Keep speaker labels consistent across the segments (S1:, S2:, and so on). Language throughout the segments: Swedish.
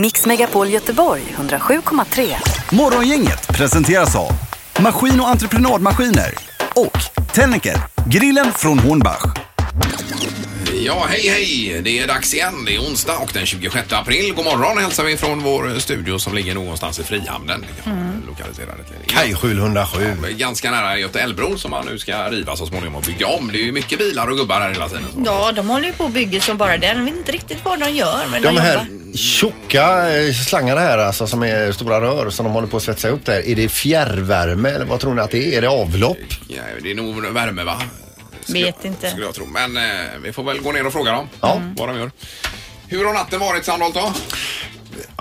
S1: Mix Megapol Göteborg 107,3.
S2: Morgongänget presenteras av Maskin och entreprenadmaskiner och Tennicker, grillen från Hornbach.
S3: Ja, hej hej! Det är dags igen. Det är onsdag och den 26 april. God morgon hälsar vi från vår eh, studio som ligger någonstans i Frihamnen. Mm. Lokaliserad till
S4: Kaj 707.
S3: Ganska nära Götaälvbron som man nu ska riva så småningom och bygga om. Det är ju mycket bilar och gubbar här hela tiden.
S5: Ja, de håller ju på och bygger som bara den. Jag vet inte riktigt vad de gör. Men
S4: De här
S5: jobbar.
S4: tjocka eh, slangarna här alltså som är stora rör som de håller på att svetsa upp där. Är det fjärrvärme eller vad tror ni att det är? Är det avlopp?
S3: Ja, det är nog värme va? Skulle-
S5: Vet inte.
S3: Skulle jag tro. Men eh, vi får väl gå ner och fråga dem Mm.
S4: Ja.
S3: vad de gör. Hur har natten varit Sandholt då?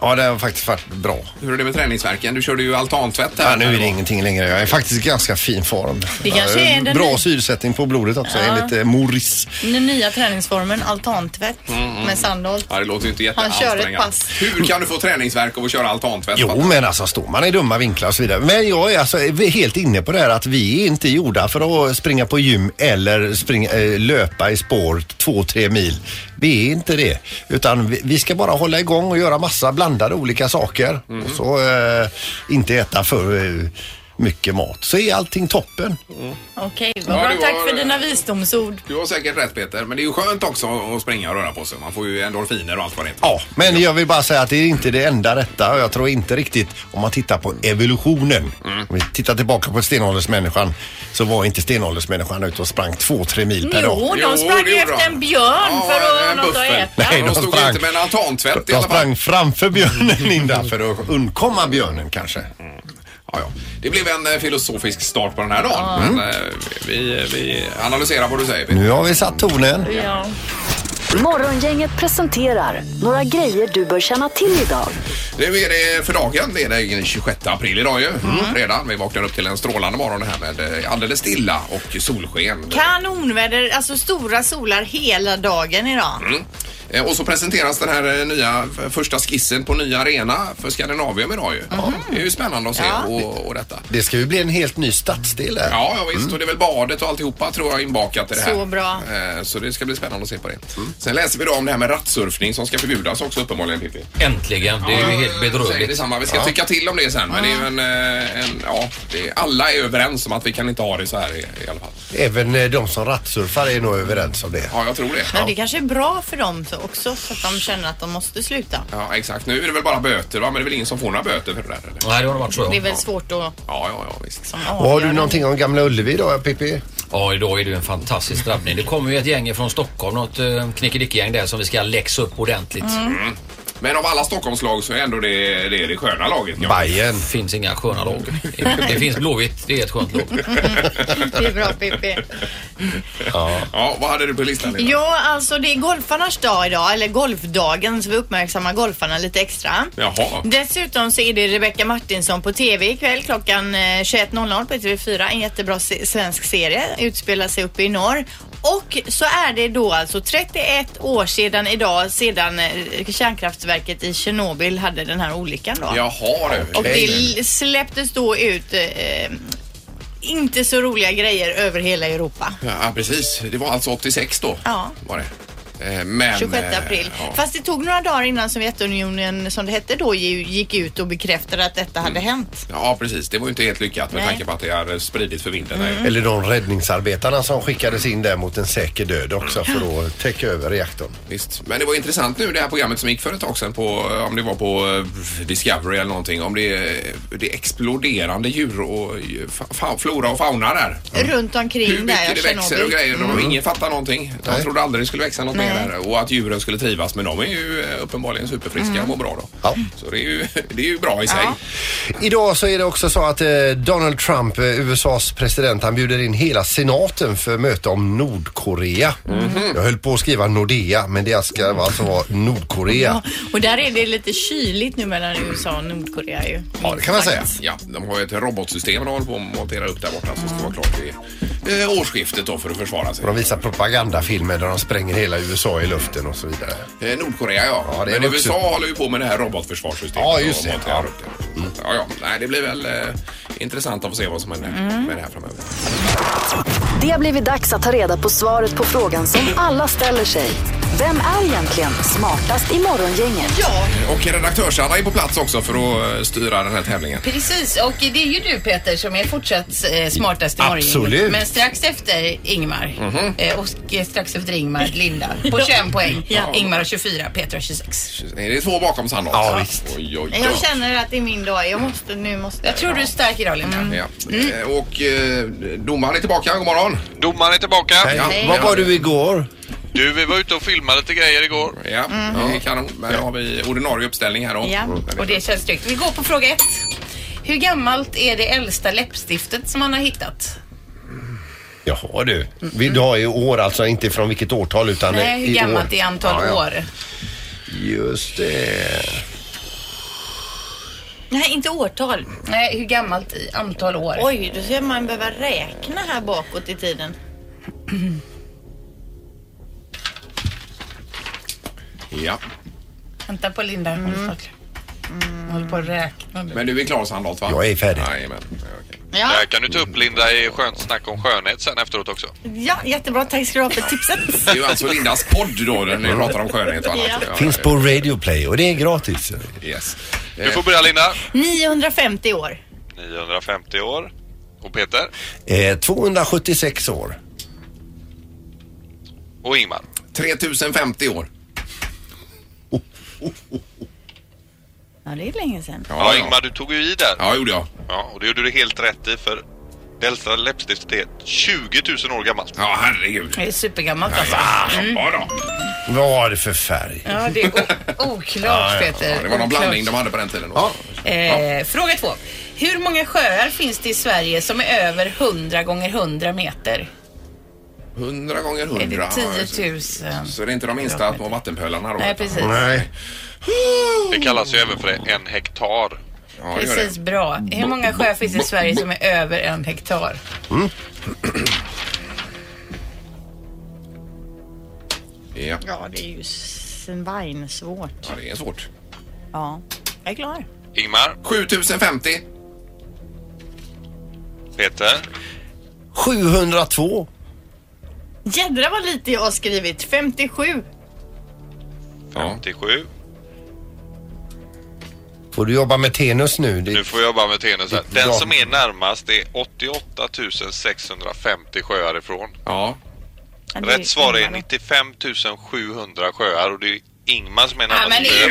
S4: Ja, det har faktiskt varit bra.
S3: Hur är det med träningsverken? Du körde ju altantvätt här.
S4: Ja, nu är det ingenting längre. Jag är faktiskt i ganska fin form.
S5: Det kanske
S4: Ja,
S5: är den
S4: Bra
S5: ny-
S4: syresättning på blodet också enligt eh, Morris.
S5: Den nya träningsformen altantvätt med Sandholt.
S3: Mm, Ja, det låter ju inte
S5: Han kör ett
S3: jätteansträngande.
S5: pass.
S3: Hur kan du få träningsverk av att köra altantvätt?
S4: Jo, men alltså står man i dumma vinklar och så vidare. Men jag är alltså helt inne på det här att vi är inte gjorda för att springa på gym eller springa, eh, löpa i spår två, tre mil. Vi är inte det. Utan vi, vi ska bara hålla igång och göra massa blandade olika saker. Och så eh, inte äta för eh, mycket mat. Så är allting toppen.
S5: Okej, vad
S3: Ja,
S5: bra.
S3: det var-
S5: Tack för dina visdomsord.
S3: Du har säkert rätt Peter, men det är ju skönt också att springa och röra på sig. Man får ju endorfiner och allt vad det heter.
S4: Ja, men jag vill bara säga att det är inte det enda rätta och jag tror inte riktigt om man tittar på evolutionen.
S3: Mm.
S4: Om vi tittar tillbaka på stenåldersmänniskan så var inte stenåldersmänniskan ute och sprang två, tre mil per
S5: Jo,
S4: dag.
S3: Jo,
S5: de sprang
S3: det
S5: ju
S3: gjorde
S5: efter
S3: de.
S5: en björn
S3: Ja,
S5: för att
S3: en
S5: ha något att
S3: buffel.
S5: äta.
S4: Nej,
S3: de
S4: de
S3: stod
S4: sprang.
S3: inte med en altantvätt i
S4: De
S3: alla fall.
S4: sprang framför björnen in där för att undkomma björnen kanske.
S3: Mm. Ja, ja. Det blev en eh, filosofisk start på den här dagen. Men, eh, vi, vi analyserar vad du säger Peter.
S4: Nu har vi satt tonen.
S5: Ja.
S1: Morgongänget presenterar några grejer du bör känna till idag.
S3: Nu är det för dagen. Det är den 26 april idag ju.
S5: Mm.
S3: Redan. Vi vaknar upp till en strålande morgon här med eh, alldeles stilla och solsken.
S5: Kanonväder, alltså stora solar hela dagen idag.
S3: Eh, Och så presenteras den här eh, nya f- första skissen på ny arena för Skandinavium idag ju. Det är ju spännande att se
S5: Mhm. Ja.
S3: och, och detta.
S4: Det ska ju bli en helt ny stadsdel här.
S3: Ja, ja visst. Och det är väl badet och alltihopa tror jag inbakat i det här.
S5: Mm. Så bra. Mm.
S3: Eh, Så det ska bli spännande att se på det. Sen läser vi då om det här med rattsurfning som ska förbjudas också uppenbarligen Pippi.
S6: Äntligen! Det är ju helt
S3: Säger
S6: bedrövligt.
S3: detsamma. Vi ska tycka till om det sen. Men det är ju en, eh, en ja, det är, alla är överens om att vi kan inte ha det så här i, i alla fall.
S4: Även eh, de som rattsurfar är nog överens om det.
S3: Ja, jag tror det.
S5: Men det kanske är bra för dem så också så att de känner att de måste sluta.
S3: Ja, exakt. Nu är det väl bara böter va? Men det är väl ingen som får några böter för det där eller? Ja,
S6: Nej, det har det varit så.
S5: Det är
S6: ja.
S5: väl svårt att
S3: ja, ja visst.
S4: Och har du
S5: avgöra.
S4: någonting om Gamla Ullevi då, Pippi?
S6: Ja, idag är det ju en fantastisk drabbning. Det kommer ju ett gäng från Stockholm, något eh, knickedickegäng där som vi ska läxa upp ordentligt.
S7: Mm.
S3: Men av alla Stockholmslag så är ändå det det, är det sköna laget. Ja.
S4: Bajen.
S6: Det finns inga sköna lag. Det finns Blåvitt, det är ett skönt lag.
S5: Det är bra Pippi.
S3: ja, vad hade du på listan? Linda?
S5: Ja, alltså det är golfarnas dag idag, eller golfdagen, så vi uppmärksammar golfarna lite extra.
S3: Jaha.
S5: Dessutom så är det Rebecca Martinsson på TV ikväll klockan eh, 21.00 på TV4. En jättebra se- svensk serie, utspelar sig uppe i norr. Och så är det då alltså 31 år sedan idag sedan eh, kärnkraftverket i Tjernobyl hade den här olyckan då.
S3: Jaha du.
S5: Och det l- släpptes då ut eh, inte så roliga grejer över hela Europa.
S3: Ja, precis. Det var alltså 86 då.
S5: Ja.
S3: Var det. Eh, Men,
S5: 26
S3: eh,
S5: april.
S3: ja.
S5: Fast det tog några dagar innan Sovjetunionen, som det hette då, ju- gick ut och bekräftade att detta hade hänt.
S3: Ja, precis. Det var ju inte helt lyckat med
S5: Nej.
S3: tanke på att det hade spridits för vinden. Mm.
S4: Eller de räddningsarbetarna som skickades in där mot en säker död också för att täcka över reaktorn.
S3: Visst. Men det var intressant nu det här programmet som gick för ett tag sedan på, eh, om det var på eh, Discovery eller någonting, om det, eh, det exploderande djur och eh, fa- fa- flora och fauna där.
S5: Runt
S3: Hur
S5: omkring där,
S3: mycket det växer och grejer. De, Ingen fattar någonting. De
S4: Mm. Nej.
S3: trodde aldrig det skulle växa någonting
S5: Nej.
S3: där och att djuren skulle trivas. Men de är ju eh, uppenbarligen superfriska och mår bra då.
S4: Mm. Ja.
S3: Så det är ju, det är ju bra i sig.
S5: Ja.
S4: Idag så är det också så att eh, Donald Trump, eh, USAs president, han bjuder in hela senaten för möte om Nordkorea.
S8: Mhm.
S4: Jag höll på att skriva Nordea men det ska alltså vara Nordkorea.
S5: Ja, och där är det lite kyligt nu mellan USA och Nordkorea ju.
S4: Ja, det kan man säga.
S3: Ja, de har ju ett robotsystem de håller på att montera upp där borta som ska vara klart vid eh, årsskiftet då för att försvara sig.
S4: De visar propagandafilmer där de spränger hela USA i luften och så vidare.
S3: Eh, Nordkorea ja.
S4: Ja, det är
S3: Men
S4: vuxen.
S3: USA håller ju på med det här robotförsvarssystemet.
S4: Ja, just
S3: och
S4: det.
S3: monterar
S4: Ja. Mm.
S3: upp det. Ja, ja. Nej, det blir väl eh, intressant att få se vad som händer
S4: Mm.
S3: med det här framöver.
S1: Det har blivit dags att ta reda på svaret på frågan som alla ställer sig. Vem är egentligen smartast i Morgongänget?
S8: Ja,
S3: Eh, Och redaktörs-Anna är på plats också för att eh, styra den här tävlingen.
S8: precis. Och det är ju du Peter som är fortsatt eh, smartast i
S4: Absolut.
S8: Men strax efter Ingmar. Eh, och eh, strax efter Ingmar Linda. På 21 poäng. Ingmar har 24, Peter har 26.
S3: Är det två bakom Sandra också?
S4: Ja, visst.
S3: Oj, oj, oj.
S5: Jag känner att det är min dag. Jag måste, nu måste Mm.
S8: Jag tror du är stark idag Linda.
S3: Ja. Eh, Och eh, domaren är tillbaka. God morgon.
S9: Domaren är tillbaka.
S4: Nej.
S3: Ja.
S4: Vad var du igår?
S9: Du, vi var ute och filmade lite grejer igår.
S3: Ja,
S8: Mm.
S3: det är kanon. Men har vi ordinarie uppställning här då.
S5: Ja.
S8: Och det känns tryggt. Vi går på fråga ett. Hur gammalt är det äldsta läppstiftet som man har hittat?
S4: Jaha du. Vi- Du har ju år alltså, inte från vilket årtal utan
S8: Nej, hur
S4: i år.
S8: gammalt är antal
S4: Ja, ja.
S8: år?
S4: Just det.
S5: Nej, inte årtal.
S8: Nej, hur gammalt i antal år?
S5: Oj, då ska man behöva räkna här bakåt i tiden.
S3: Ja.
S8: Vänta på Linda. Mm.
S5: Mm.
S8: Håller på att räkna nu.
S3: Men du är klar Sandholt va?
S4: Jag är färdig.
S3: Jajamän. Ja, okej.
S5: Ja,
S9: Där kan du ta upp Linda i skönt snack om skönhet sen efteråt också.
S5: ja jättebra. Tack ska du ha för tipset.
S3: Det är ju alltså Lindas podd då, där ni pratar om skönhet och annat.
S5: Ja.
S3: Ja,
S4: Mm. Finns på Radio Play och det är gratis.
S3: Yes.
S9: Du får börja Linda.
S5: 950 år.
S9: 950 år. Och Peter.
S4: Eh, 276 år.
S9: Och Ingmar.
S3: 3050 Eh, år.
S5: Ja, det är länge sedan.
S9: Ja, Ingmar, du tog ju i där.
S3: Ja, gjorde jag.
S9: Ja, och det gjorde du helt rätt i för det äldsta läppstiftet är 20 000 år gammalt.
S3: Ja, herregud.
S8: Det är supergammalt alltså.
S3: Ja, då.
S4: Vad var det för färg?
S8: Ja, det är o- oklart Peter.
S3: Ja, det var någon
S8: Oklart.
S3: blandning de hade på den tiden. också.
S8: Eh, fråga två. Hur många sjöar finns det i Sverige som är över 100 gånger 100 meter?
S3: 100 gånger
S8: Är
S3: 100.
S8: det 10 000?
S3: Så det är inte de minsta på vattenpölarna då?
S8: Nej, precis.
S4: Nej.
S9: Det kallas ju även för en hektar.
S3: Ja, det gör
S8: Precis,
S3: det.
S8: bra. Hur många sjöar finns det i Sverige som är över en hektar?
S3: Ja.
S5: Ja, det är ju svinsvårt.
S3: ja, det är svårt.
S5: Ja, jag är klar.
S9: Ingmar,
S3: 7050.
S9: Peter,
S4: 702.
S5: Jädra vad lite jag har skrivit. 57.
S3: Ja.
S9: 57.
S4: Får du jobba med Tenus nu? Det-
S9: Nu får jag jobba med Tenus här.
S4: Ja.
S9: Den som är närmast är 88 650 sjöar ifrån.
S3: ja.
S5: Ja, det
S9: Rätt svar är
S5: Ingmar.
S9: 95 700 sjöar och det är Ingmar som är
S8: Ja, men
S9: närmast.
S8: det är ju...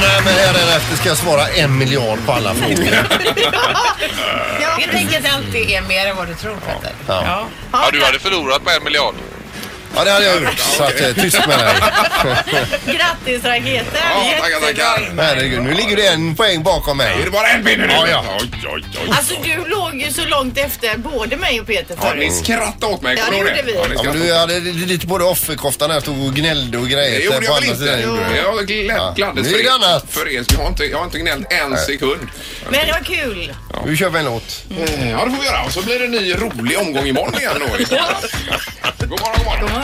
S4: Nej, men här efter ska jag svara en miljard på alla frågor.
S8: Jag tänker att det alltid är mer än vad du tror Peter.
S4: Ja.
S9: Ja, du hade förlorat på en miljard.
S4: Ja, det hade jag gjort. Så att, eh, tyst med dig.
S5: Grattis raketen!
S3: Ja, tackar, tackar.
S4: Herregud, nu ligger det en poäng bakom
S3: Är det
S4: mig.
S3: bara en pinne nu?
S4: Ja, ja.
S3: Oj, oj, oj.
S5: Alltså du låg ju så långt efter både mig och Peter
S3: Ja, ni
S5: förut.
S3: skrattade åt mig.
S5: Ja, det
S3: Kommer du ihåg
S5: gjorde vi.
S3: Ja, ni
S4: Ja, men
S3: skrattade.
S4: du hade lite både offerkoftan här stod och gnällde och grejer.
S3: Det gjorde
S4: på
S3: jag väl
S4: andra
S3: inte?
S4: sidan gjorde du det.
S3: Jag
S4: Ja.
S3: glä- gladdes
S4: Nu är
S3: för
S4: det annat.
S3: För er. Jag har inte, jag har inte gnällt en sekund.
S5: Men det var kul!
S4: Nu kör vi en låt.
S3: Eh, Ja, det får vi göra. Och så blir det en ny rolig omgång imorgon igen. Då. God morgon, god morgon.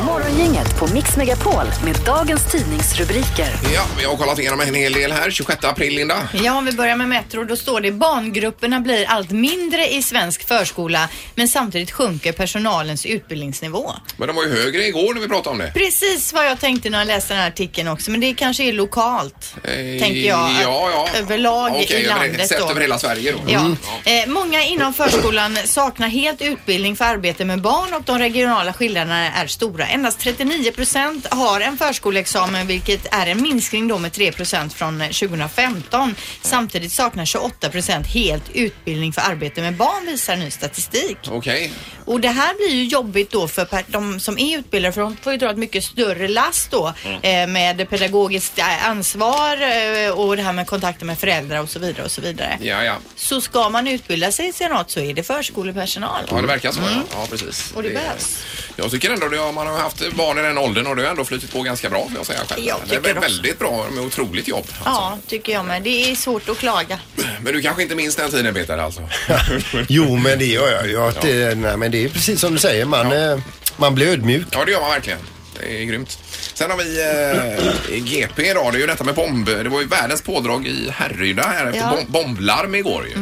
S1: Morgongänget på Mix Megapol med dagens tidningsrubriker.
S3: Ja, vi har kollat igenom en hel del här. 26 april, Linda.
S5: Ja, om vi börjar med Metro, då står det barngrupperna blir allt mindre i svensk förskola men samtidigt sjunker personalens utbildningsnivå.
S3: Men de var ju högre igår när vi pratade om det.
S5: Precis vad jag tänkte när jag läste den här artikeln också, men det kanske är lokalt,
S3: Eh,
S5: tänker jag.
S3: ja, ja.
S5: Överlag
S3: Okej,
S5: i
S3: över-
S5: landet
S3: Sett
S5: då.
S3: över hela Sverige då. Mm.
S5: Ja. Eh, många inom förskolan saknar helt utbildning för arbete med barn och de regionala skillnaderna är stora. Endast 39 procent har en förskoleexamen vilket är en minskning då med 3 procent från eh, 2015. Samtidigt saknar 28 procent helt utbildning för arbete med barn visar ny statistik.
S3: Okej.
S5: Och det här blir ju jobbigt då för per- de som är utbildade för de får ju dra ett mycket större last då eh, med pedagogiskt eh, ansvar eh, och det här med kontakter med föräldrar och så vidare och så vidare.
S3: Ja, ja.
S5: Så ska man utbilda sig till något så är det förskolepersonal.
S3: Ja, det verkar så. Ja. ja, precis.
S5: Mm. Och det behövs.
S3: Jag tycker ändå att man har haft barn i den åldern och det har ändå flutit på ganska bra, vill jag säga själv.
S5: Jag
S3: det är
S5: tycker
S3: väl
S5: också.
S3: väldigt bra med otroligt jobb.
S5: Ja, tycker jag med. Det är svårt att klaga.
S3: Men du kanske inte minns den tiden, Peter, alltså?
S4: Jo, men det gör jag. Jag- det- Nej, men det är precis som du säger. Man, eh, man blir ödmjuk.
S3: Ja, det gör man verkligen. Det är grymt. Sen har vi eh, GP idag. Det är ju detta med bomb. Det var ju världens pådrag i Härryda här efter
S5: Ja. Mm.
S3: bom- bomblarm igår ju.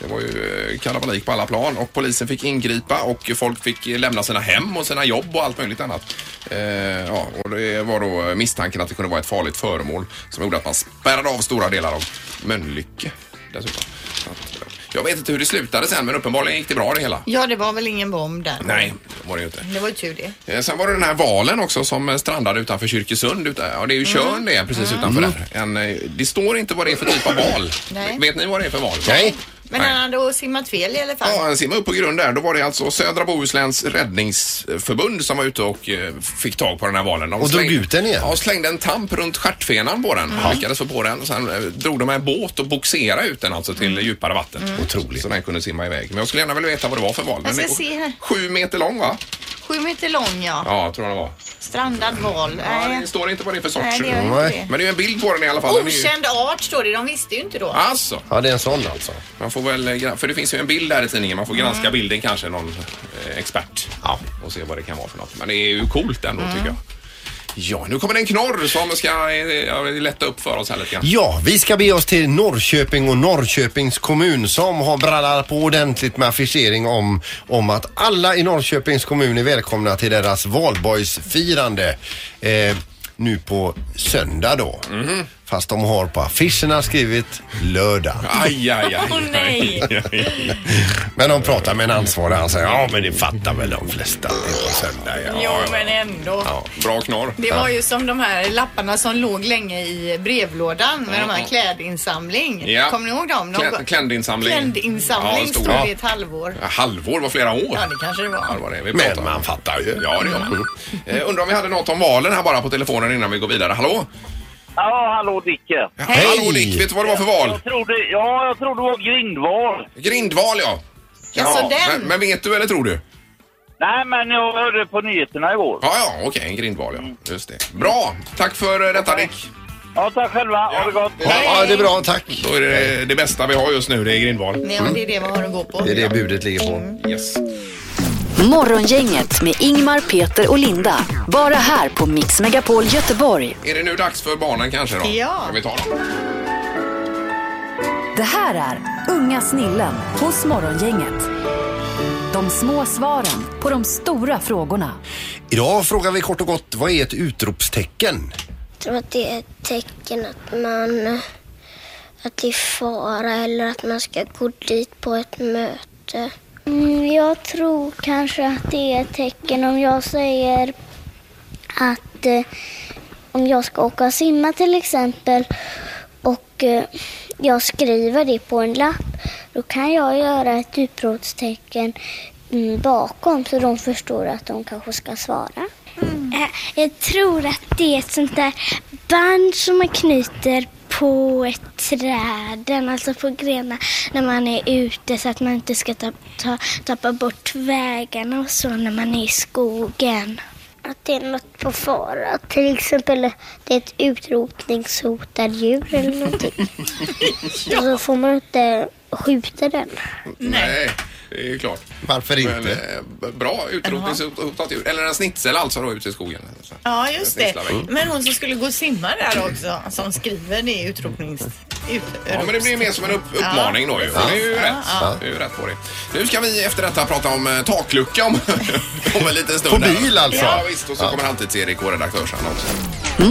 S3: Det var ju eh, kalabalik på alla plan och polisen fick ingripa och folk fick eh, lämna sina hem och sina jobb och allt möjligt annat. Eh, ja, och det var då misstanken att det kunde vara ett farligt föremål som gjorde att man spärrade av stora delar av Mölnlycke dessutom. Så att, eh, Jag vet inte hur det slutade sen men uppenbarligen gick det bra det hela.
S5: Ja, det var väl ingen bomb där.
S3: Nej, det var det ju inte.
S5: Det var ju tur det.
S3: Eh, Sen var det den här valen också som eh, strandade utanför Kyrkesund. Utan, ja, det är ju
S5: Mm.
S3: Tjörn det, precis utanför där. En, eh, det står inte vad det är för typ av val.
S5: Nej.
S3: Vet ni vad det är för val?
S4: Nej.
S5: Men
S3: Nej.
S5: han hade då simmat fel i alla fall.
S3: Ja, han simmade upp på grund där. Då var det alltså Södra Bohusläns räddningsförbund som var ute och eh, fick tag på den här valen. De
S4: Och drog
S3: slängde-
S4: ut den igen?
S3: Ja, och slängde en tamp runt stjärtfenan på den.
S5: Mm.
S3: Lyckades få på den. Och sen eh, drog de med en båt och boxerade ut den alltså
S5: Mm.
S3: till djupare vatten.
S4: Otroligt.
S3: Så den kunde simma iväg. Men jag skulle gärna vilja veta vad det var för val.
S5: Jag
S3: Men
S5: ska
S3: det-
S5: se här.
S3: Sju meter lång va?
S5: Sju meter lång ja.
S3: Ja, jag tror jag det var.
S5: Strandad val.
S3: Ja, det
S5: Nej,
S3: står inte vad det är för sorts.
S5: Nej det gör inte
S4: Nej.
S5: det.
S3: Men det är ju en bild på den i alla fall. Den är ju...
S5: Okänd art står det. De visste ju inte då.
S3: Alltså,
S4: Ja, det är en sån alltså.
S3: man får väl, gra- för det finns ju en bild där i tidningen. Man får
S5: Mm.
S3: granska bilden kanske, någon eh, expert. Ja. Och se vad det kan vara för något. Men det är ju coolt ändå
S5: Mm.
S3: tycker jag. Ja, nu kommer det en knorr som ska eh, ja, lätta upp för oss här lite grann.
S4: Ja, vi ska bege oss till Norrköping och Norrköpings kommun som har brallat på ordentligt med affischering om, om att alla i Norrköpings kommun är välkomna till deras valborgsfirande eh, nu på söndag då. Fast de har på affischerna skrivit lördag.
S3: Aj, aj, aj.
S5: Åh, nej.
S3: aj, aj.
S4: Men de pratar med en ansvarig han säger ja men det fattar väl de flesta att det är på söndag. Ja.
S5: Jo, men ändå.
S3: Bra knorr.
S5: Det var ju som de här lapparna som låg länge i brevlådan med de här klädinsamling.
S3: Ja.
S5: Kommer ni ihåg dem? De-
S3: Klä- kländinsamling.
S5: Klädinsamling
S3: Ja,
S5: stod
S3: stod
S5: det
S3: det.
S5: i ett halvår.
S3: Ja, Halvår var flera år.
S5: Ja, det kanske det
S3: Ja, det
S5: var.
S3: var det vi pratade
S4: Men
S3: om.
S4: man fattar ju. Mm.
S3: Ja, det gör man. Eh, undrar om vi hade något om valen här bara på telefonen innan vi går vidare. Hallå?
S10: Ja, hallå Dicke.
S4: Hej!
S3: Hallå Dick, vet du vad det var för val?
S10: Jag trodde, ja, jag trodde det var grindval.
S3: Grindval ja.
S5: Jaså, Alltså, den?
S3: Men, men vet du eller tror du?
S10: Nej, men jag hörde på nyheterna igår.
S3: Ja, ja, okej, en grindval ja. Just det. Bra, tack för eh, detta Dick.
S10: Ja, tack själva. Ha det gott.
S4: Ja, det är bra tack.
S3: Då är det det bästa vi har just nu, det är grindval.
S5: Nej, och det är det man har att gå på.
S4: Det är det budet ligger på.
S3: Yes.
S1: Morgongänget med Ingmar, Peter och Linda. Bara här på Mix Megapol Göteborg.
S3: Är det nu dags för barnen kanske då?
S5: Ja.
S3: Ska vi ta dem?
S1: Det här är Unga snillen hos Morgongänget. De små svaren på de stora frågorna.
S4: Idag frågar vi kort och gott vad är ett utropstecken?
S11: tror att det är ett tecken att man att det är fara eller att man ska gå dit på ett möte. jag tror kanske att det är ett tecken om jag säger att eh, om jag ska åka och simma till exempel och eh, jag skriver det på en lapp, då kan jag göra ett utropstecken mm, bakom så de förstår att de kanske ska svara. Jag tror att det är ett sånt där band som man knyter på träden, alltså på grenar när man är ute så att man inte ska ta, ta, tappa bort vägarna och så när man är i skogen. Att det är något på fara, till exempel det är ett utrotningshotat djur eller någonting. Och så får man inte skjuta den.
S3: Nej. Det är ju klart.
S4: Varför
S3: Men,
S4: inte?
S3: eh, b- bra utrotningshotat djur. Eller en snitsel alltså då ute i skogen.
S5: Ja, just det.
S3: Snitslar iväg.
S5: Men hon som skulle gå och simma där också, som skriver det utropnings... Ut...
S3: Ja, men det blir mer som en upp uppmaning då ju. Och det är ju rätt. Det är ju rätt på det. Nu ska vi efter detta prata om eh, taklucka om, om en liten stund.
S4: På
S3: här.
S4: bil alltså?
S3: Ja, visst. Och så kommer Halvtids-Erik, vår redaktör, sen också.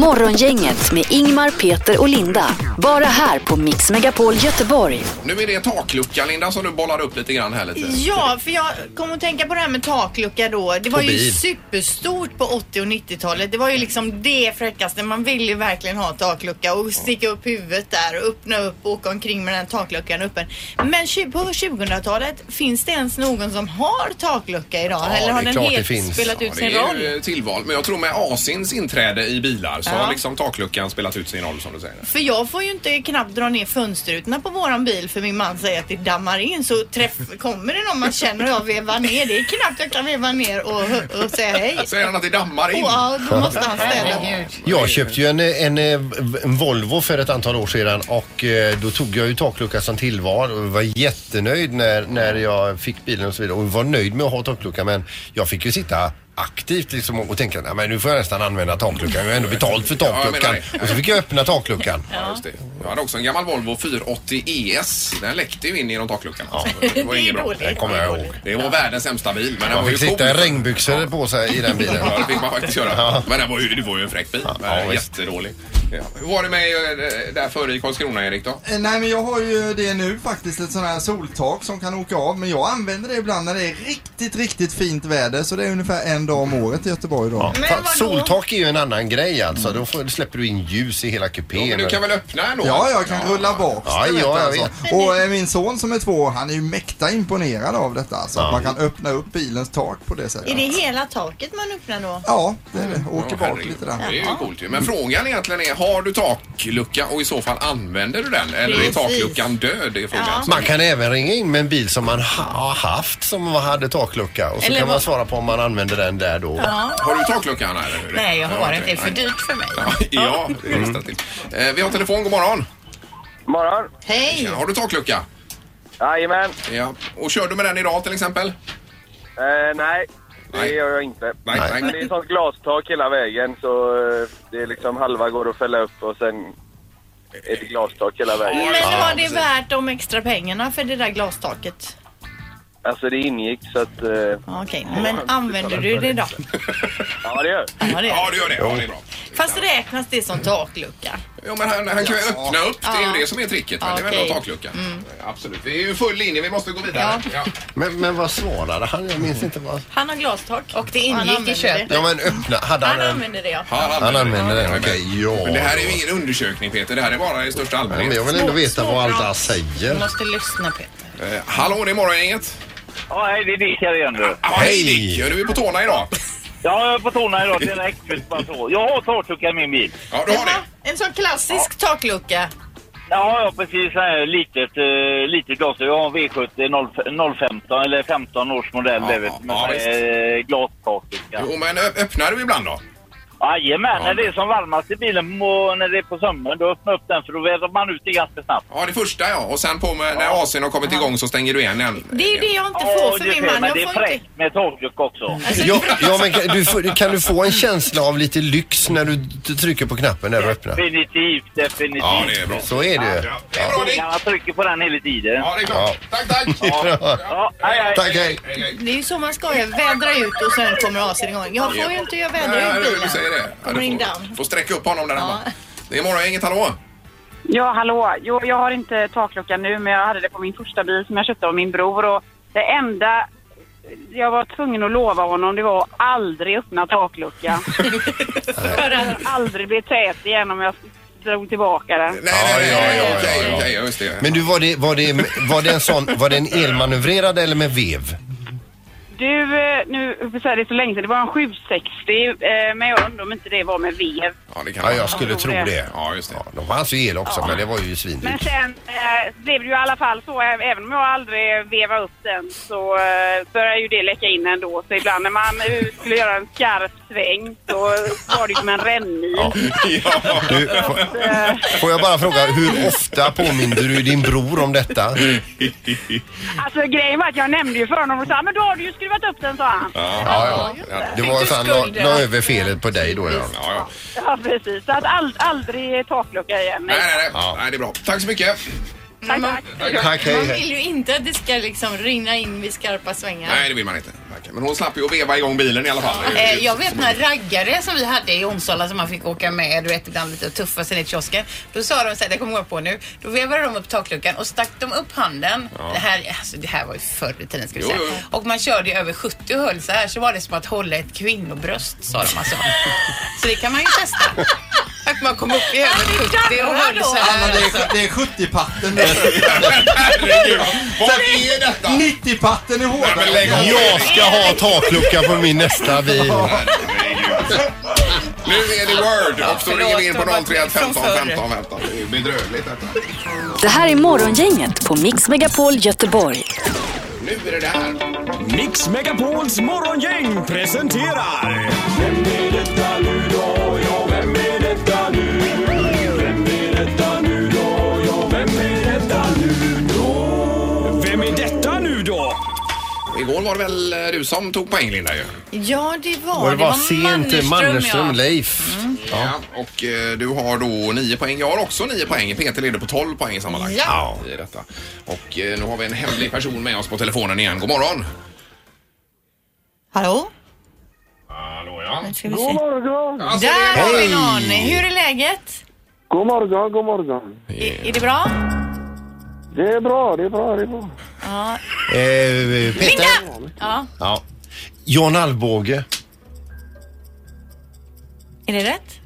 S1: Morgongänget med Ingmar, Peter och Linda. Bara här på Mix Megapol Göteborg.
S3: Nu är det taklucka, Linda, som du bollade upp lite grann här lite.
S5: Ja, för jag kom att tänka på det här med taklucka då. Det var
S4: På
S5: ju
S4: bil.
S5: superstort på 80 och 90-talet. Det var ju liksom det fräckaste. Man ville ju verkligen ha taklucka och sticka upp huvudet där och öppna upp och åka omkring med den takluckan öppen. Men tju- på 2000-talet, finns det ens någon som har taklucka idag?
S4: Ja,
S5: Eller har
S4: det är
S5: den
S4: klart det
S5: helt
S4: finns.
S5: spelat ut
S3: Ja,
S5: sin
S3: det är
S5: roll?
S3: ju tillval, men jag tror med Asins inträde i bilar så har liksom takluckan spelat ut sin roll som du säger.
S5: För jag får ju inte knappt dra ner fönsterrutorna på våran bil för min man säger att det dammar in så träff, kommer det någon man känner och jag vevar ner. Det är knappt jag kan veva ner och, och säga hej.
S3: Säger han att det dammar in?
S5: Och, ja, då måste han ställa.
S4: Jag köpte ju en, en, en Volvo för ett antal år sedan och eh, då tog jag ju taklucka som tillval och var jättenöjd när, när jag fick bilen och så vidare och var nöjd med att ha taklucka men jag fick ju sitta aktivt liksom och och tänka nej men nu får jag nästan använda takluckan. Jag har ändå betalt för
S3: Ja, jag menar
S4: takluckan.
S3: det.
S4: Och så fick jag öppna takluckan.
S3: Ja, just det. Jag hade också en gammal Volvo 480 ES. Den läckte ju in genom takluckan. Alltså. Det var inget bra.
S4: Den kommer jag ihåg.
S3: Det var världens sämsta bil. Men den
S4: Man
S3: var ju
S4: fick sitta i
S3: cool.
S4: regnbyxor på sig i den bilen.
S3: Ja, det fick man faktiskt göra.
S4: Ja.
S3: Men det var, ju, det var ju en fräck bil.
S4: ja,
S3: Ja,
S4: visst.
S3: Jättedålig. Ja. Hur var det med eh, där före i Karlskrona, Erik då?
S12: Eh, Nej men jag har ju det nu faktiskt, ett sånt här soltak som kan åka av. Men jag använder det ibland när det är riktigt, riktigt fint väder. Så det är ungefär en dag om året i Göteborg då.
S4: Ja. Fa- Soltak är ju en annan grej alltså. Då får, släpper du in ljus i hela kupén.
S12: men du kan väl öppna
S3: ändå?
S12: Ja, jag kan rulla bak.
S4: Ja,
S12: det
S4: ja, jag
S12: alltså.
S4: vet.
S12: Och eh, min son som är två, han är ju mäkta imponerad av detta. Alltså, att man kan öppna upp bilens tak på det sättet.
S5: Är det hela taket man öppnar då?
S12: Ja, det är det. Åker
S3: Ja,
S12: bak lite där.
S3: Det är ju coolt ju. Men frågan egentligen är, har du taklucka och i så fall använder du den? Eller är
S4: Precis.
S3: takluckan död? Det är frågan.
S4: Man kan även ringa in med en bil som man ha, har haft som hade taklucka och så
S8: Eller
S4: kan man
S8: vad-
S4: svara på om man använder den där då.
S8: Ja.
S3: Har du taklucka Anna? Eller? hur?
S8: Nej, jag har inte. Det är för
S3: Nej.
S8: dyrt för mig.
S3: Ja, det är det ställa till. Eh, Vi har telefon, god morgon.
S10: Morgon.
S8: Hej!
S3: Har du taklucka?
S10: Jajamän.
S3: Ja. Och kör du med den idag till exempel?
S10: Eh, nej, det
S3: Nej.
S10: gör jag inte.
S3: Nej, nej.
S10: Men det är sånt glastak hela vägen så eh, det är liksom halva går att fälla upp och sen är det glastak hela vägen.
S5: Men var det värt de extra pengarna för det där glastaket?
S10: Alltså det ingick så att... eh,
S5: Ja, Okej, men använder du det då?
S10: Ja, det gör
S5: Ja, det gör
S3: du gör det. Ja, det är bra.
S5: Fast räknas det som taklucka?
S3: Ja, men han, han kan ju
S5: Ja.
S3: öppna upp. Det är
S5: Ja.
S3: ju det som är tricket. Men det är väl
S5: Okej. Mm.
S3: ändå takluckan. Absolut. Vi är ju full linje. Vi måste gå vidare. Ja.
S4: Men, men vad svarade han? Jag minns inte vad.
S5: Han har glastak. Och det
S8: ingick i köpet.
S4: Ja men öppna. Hade han,
S5: Han
S4: en...
S5: använder det ja.
S4: Han använder den,
S3: Jajamän.
S4: okej, ja.
S3: Men det här är ju ingen undersökning Peter. Det här är bara i största
S4: Ja,
S3: allmänhet.
S4: men jag vill ändå veta vad alla
S8: Du
S4: säger.
S8: måste lyssna Peter.
S3: Eh, hallå, det är morgongänget.
S10: Ja, hej, det är Dick här igen du.
S3: Ah, hej Dick! Ja, Du är på tårna idag.
S10: Ja, jag är på tårna idag direkt. just bara så. Jag har taklucka i min bil.
S3: Ja,
S5: En sån klassisk taklucka.
S10: Ja, ja precis. Så här, litet, eh, litet glas. Jag har en V70 eh, 0, 015 eller 15 års modell. det vet, med
S3: ja, visst.
S10: eh, glastak.
S3: Jo, men ö- öppnar du ibland då?
S10: Jajamän,
S3: Ja.
S10: när det är som varmast i bilen må- när det är på sommaren, då öppnar jag upp den för då vädrar man ut det ganska snabbt.
S3: Ja, det första ja. Och sen på med, när AC'n har kommit igång så stänger du igen den.
S5: Det är ju det jag inte
S10: Ja,
S5: får för
S10: det är
S5: min
S10: fel,
S5: man.
S10: men
S5: Jag
S10: det är
S5: får inte...
S10: fräckt med taklucka också.
S4: Ja, ja men kan du, få- kan du få en känsla av lite lyx när du t- trycker på knappen när du öppnar?
S10: Definitivt, definitivt.
S4: Ja, det är bra. Så är det ju.
S10: Ja,
S4: Det är bra, Dick.
S10: Jag trycker på den hela tiden.
S3: Ja, det är
S4: Ja.
S3: klart. Tack, tack!
S10: Ja, hej, hej.
S4: Tack, hej.
S5: Det är ju så man ska ju vädra ut och sen kommer AC'n igång. Jag får ju inte jag vädra ut
S3: Nej,
S5: bilen.
S3: du säger det. Ja,
S5: Kommer in
S3: du
S5: down.
S3: får, får sträcka upp honom där hemma. Det är morgongänget, hallå!
S13: Ja, hallå. Jo, jag har inte taklucka nu, men jag hade det på min första bil som jag köpte av min bror. Och det enda jag var tvungen att lova honom det var att aldrig öppna takluckan. För att aldrig bli tät igen om jag drog tillbaka den.
S3: nej, nej, okej, okej, just det.
S4: Men du, var det, var det, var det en sån, var det en elmanövrerad eller med vev?
S13: Du, eh, nu jag får säga det är så länge sedan, det var en 760, eh, men jag undrar om inte det var med vev.
S3: Ja, det kan
S4: Ja,
S3: man.
S4: jag skulle
S13: Jag
S4: tro
S13: tror
S4: det.
S13: det.
S3: Ja, just det.
S4: de fanns ju el också,
S13: Ja.
S4: men det var ju
S13: Men
S4: svindyrt.
S13: sen eh, blev det ju i alla fall så, ä- även om jag aldrig vevade upp den så eh, började ju det läcka in ändå. Så ibland när man eh, skulle göra en skarp sväng så var det ju som en rännil.
S4: Du, får, får jag bara fråga, hur ofta påminner du din bror om detta?
S5: Mm.
S13: Alltså grejen var att jag nämnde ju för honom och sa "Ah, men då har du ju skruvat upp den sa han.
S4: Ja, ja. Det var fan la, la över felet på dig då ja.
S3: Ja,
S13: Ja precis, så att all, aldrig taklucka igen.
S3: Nej, nej, nej. nej. Det är bra. Tack så mycket.
S13: Tack, tack.
S4: Tack, hej,
S5: Man
S4: hej.
S5: vill ju inte att det ska liksom rinna in vid skarpa svängar.
S3: Nej, det vill man inte. Verkligen. Men hon slapp ju att veva igång bilen i alla fall. Det är
S8: Eh,
S3: ju-
S8: Jag vet några raggare som vi hade i Onsala som man fick åka med, du vet ibland lite och tuffa sig ner till kiosken. Då sa de så här, det kommer jag på nu, då vevade de upp takluckan och stack de upp handen.
S5: Ja.
S8: Det, här, alltså, det här var ju förr i tiden ska vi
S5: Jo,
S8: säga.
S5: jo,
S8: Och man körde ju över 70 och höll så här så var det som att hålla ett kvinnobröst sa de alltså. så det kan man ju testa. Att man kom upp i över 70 och höll så
S12: Ja, men
S8: här.
S12: det,
S8: Alltså.
S12: är, det är 70-patten.
S3: Vad är detta?
S12: 90-patten är hårdare.
S4: Jag ska ha taklucka på min nästa bil.
S3: Nu är det Word och så
S1: förlåt,
S3: ringer vi in på
S1: de har
S3: 031 15
S1: varit
S3: 15 15. Det är bedrövligt detta.
S1: Det här är Morgongänget på Mix Megapol Göteborg.
S3: Nu är det det här.
S14: Mix Megapols morgongäng presenterar... Vem är detta nu då? Ja, vem är detta nu? Vem är detta nu då? Ja, vem är detta nu då? Vem är detta nu då?
S3: Igår var det väl eh, du som tog poäng Linda ju.
S5: Ja, det var
S3: Och det
S5: det.
S3: var sent,
S5: Mannerström,
S3: Mannerström,
S5: ja.
S4: Leif.
S5: Mm.
S3: Ja. Och eh, du har då nio poäng. Jag har också nio poäng. Peter leder på 12 poäng sammanlagt.
S5: Ja.
S3: I detta. Och eh, nu har vi en hemlig person med oss på telefonen igen. God morgon!
S5: Hallå?
S3: Hallå ja.
S5: Nu ska vi
S15: God
S5: se.
S15: morgon!
S5: Där har vi någon. Hur är läget?
S15: God morgon, god morgon.
S5: Är det bra?
S15: Det är bra, det är bra, det är bra.
S5: Ja.
S4: Eh, Peter?
S5: Linda! Ja,
S4: Ja. John Alvbåge.
S5: är det rätt?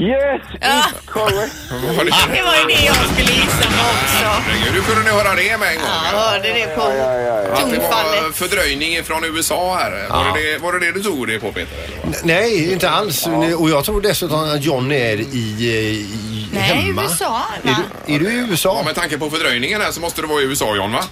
S15: Yes,
S5: Ja.
S15: correct.
S5: Det var ju det jag skulle gissa på också.
S3: Herregud, hur kunde ni höra det med en gång?
S5: Ja, hörde det på
S3: Att det var
S5: tonfallet.
S3: fördröjning från USA här. Var,
S4: Ja.
S3: det det, var det det du tog det på Peter? Eller?
S4: N- Nej, inte alls. Och jag tror dessutom att John är i, eh, i
S5: Nej,
S4: hemma.
S5: USA, va?
S4: Är du, är du i USA?
S3: Ja, med tanke på fördröjningen här så måste det vara i USA John va?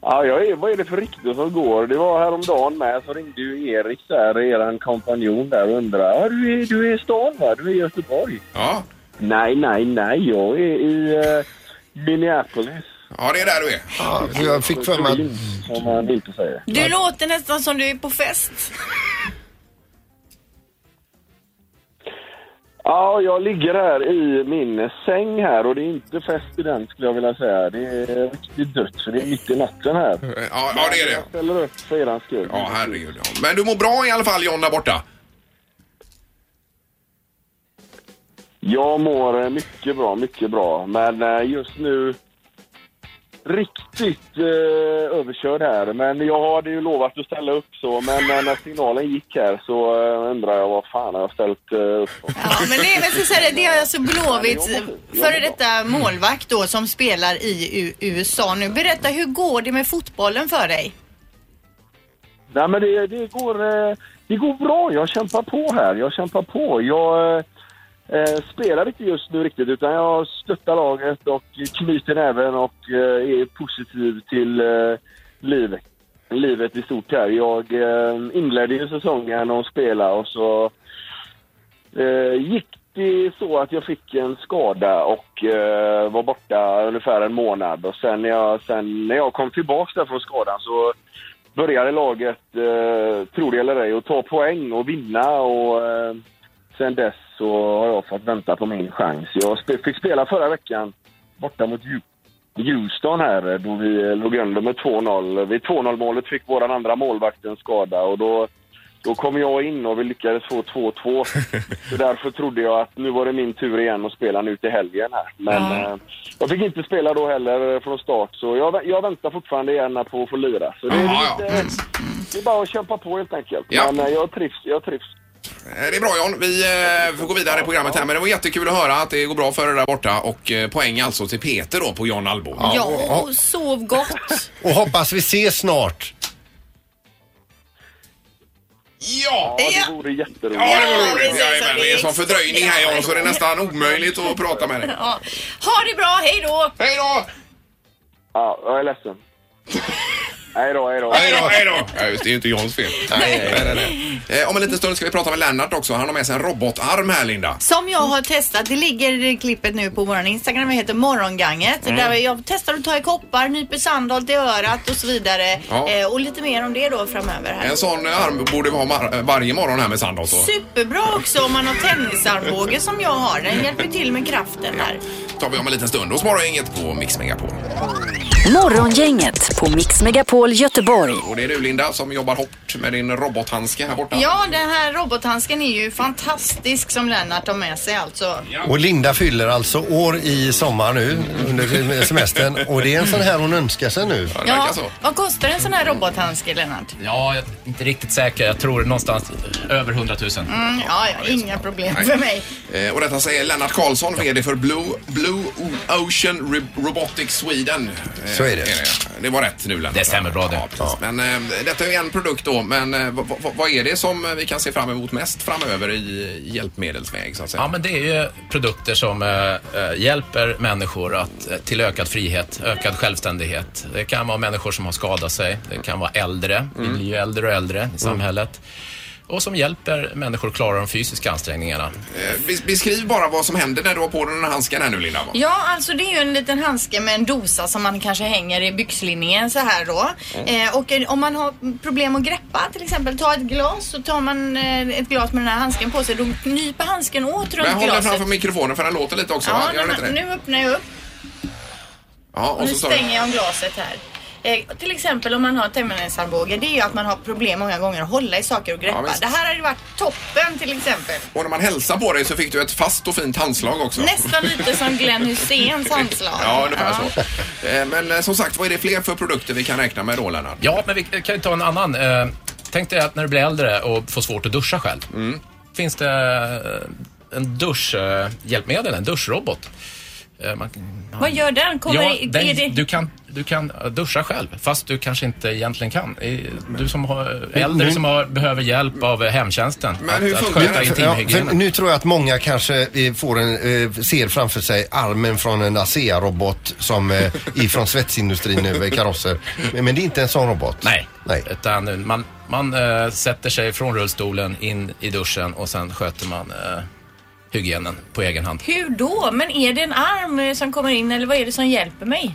S15: Ja, jag är, vad är det för rykte som går? Det var häromdagen med så ringde ju Erik där, eran kompanjon där och undrade. Ja, du är, du är i stan va? Du är i Göteborg?
S3: Ja.
S15: Nej, nej, nej. Jag är i eh, Minneapolis.
S3: Ja, det är där du är.
S4: Ja, för jag fick för mig
S15: att... Som man inte säger.
S5: Du låter nästan som du är på fest.
S15: Ja, jag ligger här i min säng här och det är inte fest i den skulle jag vilja säga. Det är riktigt dött för det är mitt i natten här.
S3: Ja, ja det är det. Jag
S15: ställer upp för eran skull.
S3: Ja, herregud. Ja. Men du mår bra i alla fall John där borta?
S15: Jag mår eh, mycket bra, mycket bra. Men eh, just nu riktigt eh, överkörd här. Men jag hade ju lovat att ställa upp så, men eh, när signalen gick här så eh, undrar jag vad fan har jag ställt eh, upp på?
S5: Ja, men det är väl så här, det är alltså Blåvitts före detta målvakt då som spelar i U- USA nu. Berätta, hur går det med fotbollen för dig?
S15: Nej, men det, det, går, eh, det går bra. Jag kämpar på här. Jag kämpar på. Jag eh, eh, spelar inte just nu riktigt, utan jag stöttar laget och knyter näven och eh, är positiv till eh, livet. livet i stort här. Jag eh, inledde ju säsongen och spelade och så eh, gick det så att jag fick en skada och eh, var borta ungefär en månad. Och sen när jag, sen när jag kom tillbaka där från skadan så började laget, eh, tror det eller ej, att ta poäng och vinna. Och, eh, sen dess så har jag fått vänta på min chans. Jag sp- fick spela förra veckan borta mot Dju- Houston här eh, då vi eh, låg under med 2-0. Vid 2-0-målet fick vår andra målvakt en skada och då, då kom jag in och vi lyckades få 2-2. så därför trodde jag att nu var det min tur igen att spela nu till helgen här. Men
S16: Ja.
S15: eh, jag fick inte spela då heller eh, från start så jag, vä- jag väntar fortfarande gärna på att få lira. Så det, är lite,
S3: Mm.
S15: det är bara att kämpa på helt enkelt. Men eh, jag trivs, jag trivs.
S3: Eh, Det är bra John. Vi eh, får gå vidare i programmet här. Men det var jättekul att höra att det går bra för dig där borta. Och eh, poäng alltså till Peter då på John Albo.
S5: Ja, och sov gott.
S4: Och hoppas vi ses snart.
S3: Ja!
S15: det vore jätteroligt.
S3: Ja, det var roligt.
S5: precis.
S3: Jajamän, det är sån fördröjning här John så det är nästan omöjligt att prata med dig.
S5: Ja. Ha det bra, hej då!
S3: Hej då!
S15: Ja, jag är ledsen. Hej då, hej då.
S3: Hej då, hej då! Ja, just det, det är ju inte Johns fel.
S15: Nej.
S3: Nej, nej, nej. Eh, Om en liten stund ska vi prata med Lennart också. Han har med sig en robotarm här Linda.
S5: Som jag har testat, det ligger i klippet nu på våran Instagram, det heter Morgonganget.
S3: Mm.
S5: Där jag testar att ta i koppar, nyper Sandholt i örat och så vidare.
S3: Ja.
S5: Eh, och lite mer om det då framöver här.
S3: En sån eh, arm borde vi ha mar- varje morgon här med Sandholt. då.
S5: Superbra också om man har tennisarmbåge som jag har. Den hjälper till med kraften här.
S3: tar vi om en liten stund. Hos Morgongänget på Mix Megapol.
S1: Morgongänget på Mix Megapol Göteborg.
S3: Och det är du Linda som jobbar hårt med din robothandske här borta.
S5: Ja, den här robothandsken är ju fantastisk som Lennart har med sig alltså.
S4: Och Linda fyller alltså år i sommar nu under semestern och det är en sån här hon önskar sig nu.
S5: Ja, vad kostar en sån här robothandske Lennart?
S7: Ja, jag är inte riktigt säker. Jag tror någonstans över 100 000.
S5: Mm, ja, ja, inga problem
S3: Nej.
S5: för mig.
S3: Eh, och detta säger Lennart Karlsson, VD för Blue, Blue O- Ocean Re- Robotics Sweden. Eh,
S4: Så är det.
S3: Det var rätt nu Lennart. Det stämmer bra det. Ja, precis. Men eh, detta är ju en produkt då, men eh, vad- vad- vad är det som vi kan se fram emot mest framöver i hjälpmedelsväg så att säga?
S7: Ja, men det är ju produkter som eh, eh, hjälper människor att, eh, till ökad frihet, ökad självständighet. Det kan vara människor som har skadat sig, det kan vara äldre, vi blir ju äldre och äldre i samhället. och som hjälper människor klara de fysiska ansträngningarna.
S3: Eh, Beskriv bara vad som händer när du har på dig den här handsken här nu Linda. va?
S5: Ja, alltså det är ju en liten handske med en dosa som man kanske hänger i byxlinningen så här då.
S3: Mm.
S5: Eh, och eh, om man har problem att greppa, till exempel ta ett glas, så tar man eh, ett glas med den här handsken på sig. Då knyper handsken åt runt
S3: Men håll den
S5: glaset.
S3: framför mikrofonen för den låter lite också. va?
S5: ja,
S3: Gör den inte
S5: nu,
S3: det?
S5: nu öppnar jag upp
S3: Ja,
S5: och, nu
S3: tar du-
S5: stänger jag om glaset här. Eh, till exempel om man har tändningsarmbåge, det är ju att man har problem många gånger att hålla i saker och greppa.
S3: Ja, visst.
S5: det här hade ju varit toppen till exempel.
S3: Och när man hälsar på dig så fick du ett fast och fint handslag också.
S5: Nästan lite som Glenn Hyséns handslag.
S3: Ja, ungefär så. Eh, Men eh, som sagt, vad är det fler för produkter vi kan räkna med då Lennart?
S7: Ja, men vi kan ju ta en annan. Eh, Tänk dig att när du blir äldre och får svårt att duscha själv. Finns det eh, en duschhjälpmedel, en duschrobot? Eh, Man,
S5: Vad gör den? Kommer
S7: ja,
S5: det, är
S7: den,
S5: det...
S7: Du, kan, du kan äh, duscha själv, fast du kanske inte egentligen kan. Eh, Du som har,
S4: Men-
S7: äldre
S4: men-
S7: som har, behöver hjälp av eh, hemtjänsten att, att sköta
S4: Ja, för
S7: intimhygienen.
S4: nu tror jag att många kanske eh, får en, eh, ser framför sig armen från en ASEA-robot som eh, ifrån svetsindustrin över karosser. Men, men det är inte en sån robot.
S7: Nej, utan äh, man, man eh, sätter sig från rullstolen in i duschen och sen sköter man eh, hygienen på egen hand.
S5: Hur då? Men är det en arm eh, som kommer in eller vad är det som hjälper mig?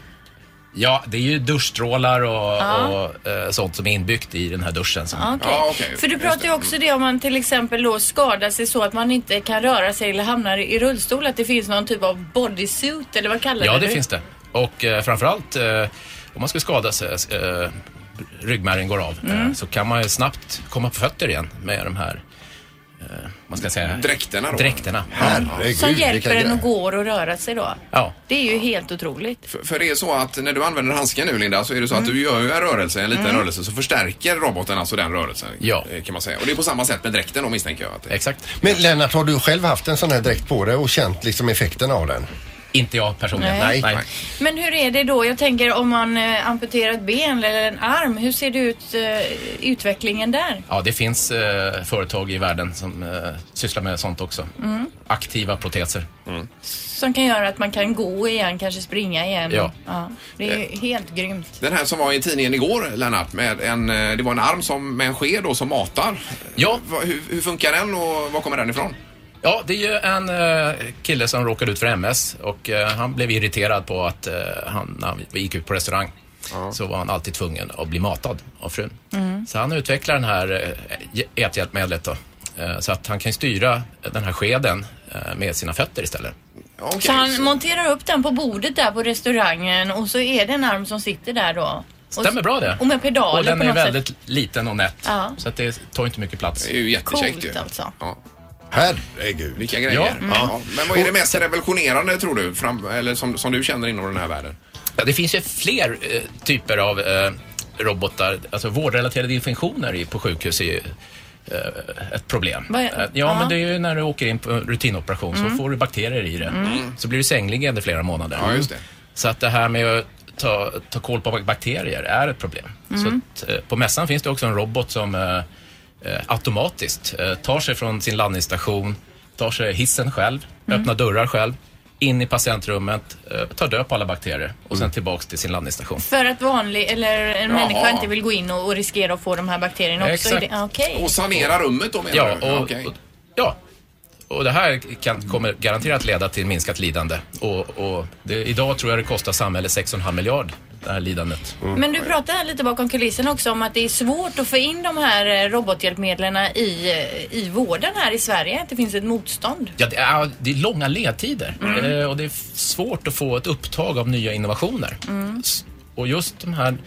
S7: Ja, det är ju duschstrålar och,
S5: Ja.
S7: och eh, sånt som är inbyggt i den här duschen. Som...
S5: Ja, okej. För du pratar ju också det om man till exempel då skadar sig så att man inte kan röra sig eller hamnar i rullstol, att det finns någon typ av bodysuit eller vad kallar
S7: Ja,
S5: du
S7: det finns det. Och eh, framförallt eh, om man ska skada sig, eh, ryggmärgen går av,
S5: Mm.
S7: eh, så kan man ju snabbt komma på fötter igen med de här eh, man ska säga,
S3: dräkterna. Då.
S7: dräkterna.
S5: Som hjälper en att gå och röra sig då.
S7: Ja.
S5: Det är ju helt otroligt.
S3: För, för det är så att när du använder handsken nu Linda så är det så att du gör ju en rörelse, en liten
S5: Mm.
S3: rörelse, så förstärker roboten alltså den rörelsen. Ja. Kan man säga. Och det är på samma sätt med dräkten då misstänker jag. Att det...
S7: Exakt.
S4: Men Lennart, har du själv haft en sån här dräkt på dig och känt liksom effekten av den?
S7: Inte jag personligen.
S5: Nej.
S4: Nej.
S5: Men hur är det då? Jag tänker om man eh, amputerar ett ben eller en arm, hur ser det ut eh, utvecklingen där?
S7: Ja, det finns eh, företag i världen som eh, sysslar med sånt också.
S5: Mm.
S7: Aktiva proteser.
S5: Som kan göra att man kan gå igen, kanske springa igen.
S3: Ja.
S5: det är ju helt grymt.
S3: Den här som var i tidningen igår Lennart, med en, eh, det var en arm som, med en sked då, som matar.
S7: Ja.
S3: Hur, hur funkar den och var kommer den ifrån?
S7: Ja, det är ju en eh, kille som råkade ut för MS och eh, han blev irriterad på att eh, han, när han gick ut på restaurang så var han alltid tvungen att bli matad av frun.
S14: Mm.
S7: Så han utvecklar den här eh, äthjälpmedlet då. Eh, så att han kan styra den här skeden eh, med sina fötter istället.
S5: så han monterar upp den på bordet där på restaurangen och så är det en arm som sitter där då. Och-
S7: Stämmer bra det.
S5: Och med pedaler
S7: Och den
S5: på
S7: är
S5: något
S7: väldigt
S5: sätt.
S7: liten och nätt.
S5: Ja.
S7: Så att det tar inte mycket plats.
S3: Det är ju jättekäckt
S5: Coolt
S3: ju.
S5: alltså.
S3: Ja.
S4: Herregud.
S3: Vilka grejer.
S7: Ja.
S3: Ja.
S7: Mm.
S3: Men vad är det mest revolutionerande tror du? Fram, eller som, som du känner inom den här världen?
S7: Ja, det finns ju fler eh, typer av eh, robotar. Alltså vårdrelaterade infektioner i- på sjukhus är ju eh, ett problem.
S14: Vad är-
S7: Eh, ja,
S14: ja.
S7: men det är ju när du åker in på en rutinoperation
S14: Mm.
S7: så får du bakterier i det.
S14: Mm.
S7: Så blir du sängliggande flera månader.
S14: Ja, just det.
S7: Så att det här med att ta, ta koll på bakterier är ett problem.
S14: Mm.
S7: Så att, eh, på mässan finns det också en robot som eh, eh, automatiskt eh, tar sig från sin landningsstation, tar sig hissen själv,
S14: Mm.
S7: öppnar dörrar själv, in i patientrummet, eh, tar död på alla bakterier och
S14: Mm.
S7: sen tillbaks till sin landningsstation.
S5: För att vanlig, eller en
S7: Jaha.
S5: människa inte vill gå in och, och riskera att få de här bakterierna också.
S7: Exakt.
S5: Är det- Okej.
S7: ja, och, och, ja, och det här kan, kommer garanterat leda till minskat lidande. Och, och det, idag tror jag det kostar samhället 6,5 miljard, det här lidandet.
S5: Men du pratade här lite bakom kulisserna också om att det är svårt att få in de här eh, robothjälpmedlen i, eh, i vården här i Sverige. Att det finns ett motstånd.
S7: Ja, det, är, det är långa ledtider eh, och det är f- svårt att få ett upptag av nya innovationer. S- Och just de här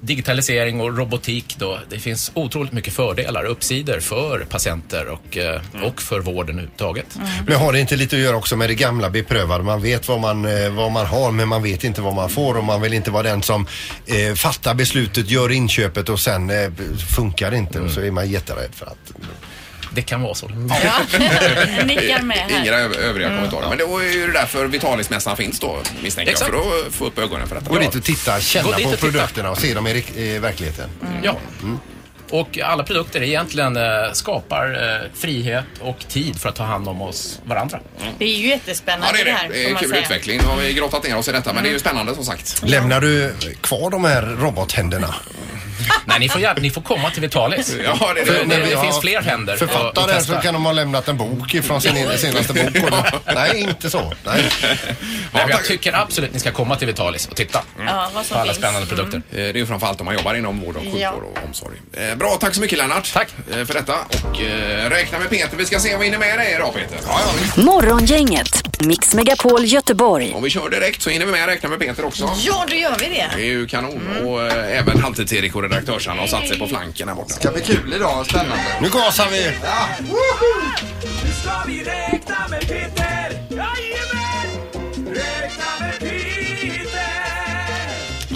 S7: digitalisering och robotik då, det finns otroligt mycket fördelar och uppsidor för patienter och, eh, och för vården överhuvudtaget.
S4: Men har det inte lite att göra också med det gamla beprövade? Man vet vad man, eh, vad man har men man vet inte vad man får och man vill inte vara den som eh, fattar beslutet, gör inköpet och sen eh, funkar det inte och så är man jätterädd för att...
S7: Det kan vara så.
S5: Nickar med här. Mm.
S3: Inga ö- övriga kommentarer. Men det är ju därför Vitalismässan finns då, misstänker
S4: Exakt.
S3: jag. För att få upp ögonen för detta.
S4: Gå dit och titta,
S7: Gå
S4: känna
S7: dit
S4: på
S7: och titta.
S4: produkterna och se dem i, rik- i verkligheten.
S7: Ja. Och alla produkter egentligen eh, skapar eh, frihet och tid för att ta hand om oss varandra.
S5: Det är ju jättespännande
S3: Ja, det är
S5: här.
S3: det. Det
S5: får
S3: är
S5: man
S3: kul
S5: säga. Mm.
S3: utveckling. Nu har vi grottat ner oss i detta, men det är ju spännande som sagt.
S4: Lämnar du kvar de här robothänderna?
S7: Nej, ni får, hjälp, ni får komma till Vitalis.
S3: Ja, det är det.
S7: För, det, det
S4: Ja.
S7: finns fler händer. att- att
S4: Författare
S7: testa.
S4: så kan de ha lämnat en bok ifrån sin senaste bok. Och de- Nej, inte så. Nej.
S7: Nej, men jag tycker absolut ni ska komma till Vitalis och titta
S5: Ja, vad som
S7: på alla
S5: finns.
S7: spännande produkter.
S3: Eh, Det är ju framförallt om man jobbar inom vård och sjukvård
S5: Ja.
S3: och omsorg. Eh, Bra, tack så mycket Lennart. Tack. För detta och eh, räkna med Peter. Vi ska se om vi hinner med dig idag Peter. Ja, ja.
S1: Morgongänget, Mix Megapol Göteborg.
S3: Om vi kör direkt så hinner vi med att räkna med Peter också.
S5: Ja, då gör vi det.
S3: Det är ju kanon
S5: Mm.
S3: och eh, även halvtids-Erik och redaktörsarna har satt sig på flanken här borta. Ska
S12: bli kul idag, spännande.
S4: Nu gasar vi!
S14: Nu ska vi räkna med Peter! Jajamän! Räkna med Peter!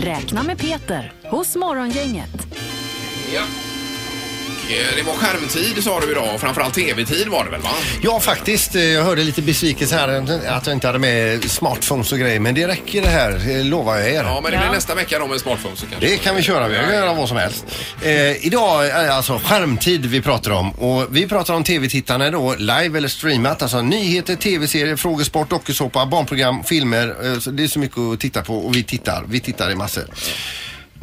S1: Räkna med Peter hos Morgongänget.
S3: Ja. Och, eh, Det var skärmtid sa du idag och framförallt tv-tid var det väl va?
S4: Ja, faktiskt. eh, Jag hörde lite besvikelse här att jag inte hade med smartphones och grejer. Men det räcker det här, eh, lovar jag er.
S3: Ja men det blir nästa vecka då med smartphone så kanske.
S4: Det kan vi köra, vi kan göra vad som helst. Eh, idag är det alltså skärmtid vi pratar om och vi pratar om tv-tittande då live eller streamat, alltså nyheter, tv-serier, frågesport, dokusåpa, barnprogram, filmer. Eh, så det är så mycket att titta på och vi tittar, vi tittar i massor.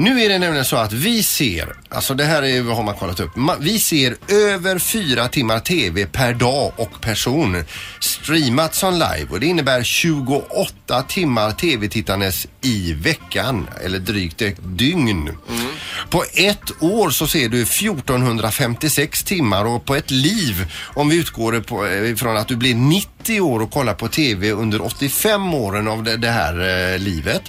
S4: Nu är det nämligen så att vi ser, alltså det här är, har man kollat upp, ma- vi ser över fyra timmar TV per dag och person streamat som live och det innebär 28 timmar TV-tittandes i veckan eller drygt ett dygn. På ett år så ser du 1456 timmar och på ett liv om vi utgår på- eh, från att du blir 90 år och kollar på TV under 85 åren av det, det här eh, livet.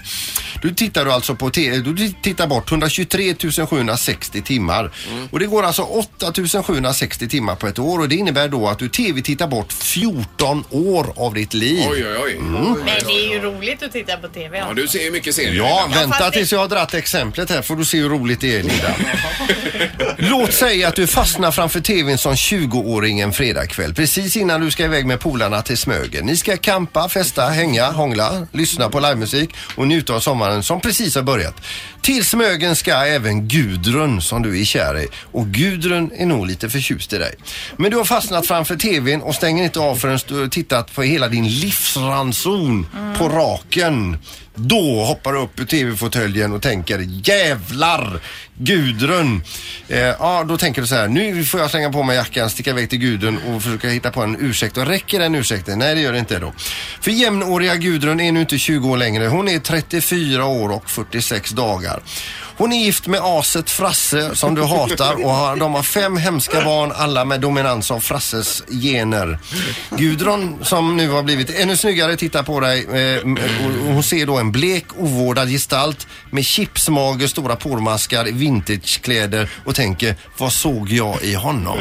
S4: Du tittar du alltså på te- du tittar bort 123 760 timmar. Och det går alltså 8 760 timmar på ett år och det innebär då att du tv-tittar bort 14 år av ditt liv.
S3: Oj, oj, oj.
S4: Mm.
S5: Men det är ju roligt att titta på TV.
S3: Ja, du ser ju mycket serier.
S4: Ja,
S3: Linda.
S4: vänta tills jag har dratt exemplet här får du se hur roligt det är Linda. Låt säga att du fastnar framför TVn som 20-åring en fredagkväll precis innan du ska iväg med polarna till Smögen. Ni ska campa, festa, hänga, hångla, lyssna på livemusik och njuta av sommaren som precis har börjat. Till Smögen ska även Gudrun som du är kär i och Gudrun är nog lite förtjust i dig. Men du har fastnat framför TVn och stänger inte av förrän du har tittat på hela din livsranson på raken. Då hoppar du upp ur TV-fåtöljen och tänker jävlar Gudrun. Eh, ja, då tänker du så här. Nu får jag slänga på mig jackan, sticka iväg till Gudrun och försöka hitta på en ursäkt. Och räcker den ursäkten? Nej, det gör det inte då. För jämnåriga Gudrun är nu inte 20 år längre. Hon är 34 år och 46 dagar. Hon är gift med aset Frasse som du hatar och har, de har fem hemska barn, alla med dominans av Frasses gener. Gudrun som nu har blivit ännu snyggare tittar på dig eh, och och hon ser då en blek ovårdad gestalt med chipsmage, stora pormaskar, vintagekläder och tänker vad såg jag i honom?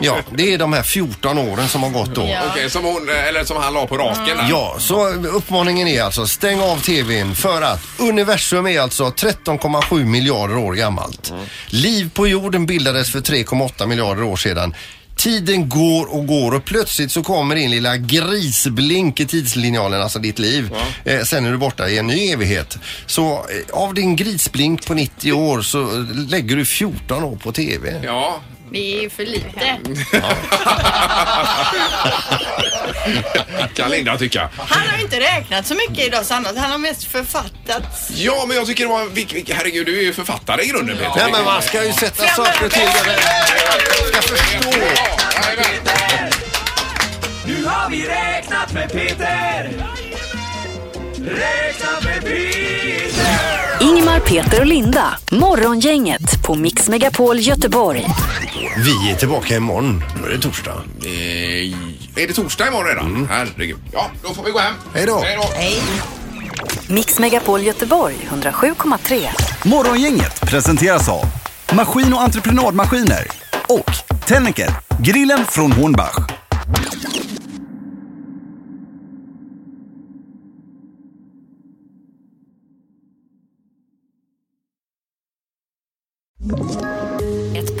S4: Ja, det är de här 14 åren som har gått då.
S3: Okej, som hon, eller som han la på raken där.
S4: Ja, så uppmaningen är alltså stäng av tvn för att universum är alltså 13,7 miljarder år gammalt. Liv på jorden bildades för 3,8 miljarder år sedan. Tiden går och går och plötsligt så kommer din lilla grisblink i tidslinjalen, alltså ditt liv. Eh, sen är du borta i en ny evighet. Så eh, av din grisblink på 90 år så lägger du 14 år på TV.
S3: Ja.
S5: Det är ju för lite.
S3: kan Linda tycka.
S5: Han har ju inte räknat så mycket idag Sanna. Han har mest författat.
S3: Ja, men jag tycker det var... en vik- vik- Herregud, du är ju författare i grunden Peter.
S4: Nej men man ska ju sätta saker och ting där det
S14: Nu har vi räknat med Peter! Räknat med Peter!
S1: Ingmar, Peter och Linda. Morgongänget på Mix Megapol Göteborg.
S4: Vi är tillbaka imorgon. Då är det torsdag.
S3: Eh, är det torsdag imorgon redan? Herregud. Ja, då får vi gå hem.
S4: Mm. Hej då.
S3: Hej då.
S1: Mix Megapol Göteborg 107,3.
S2: Morgongänget presenteras av Maskin och entreprenadmaskiner och Tennicker, grillen från Hornbach.
S16: Ett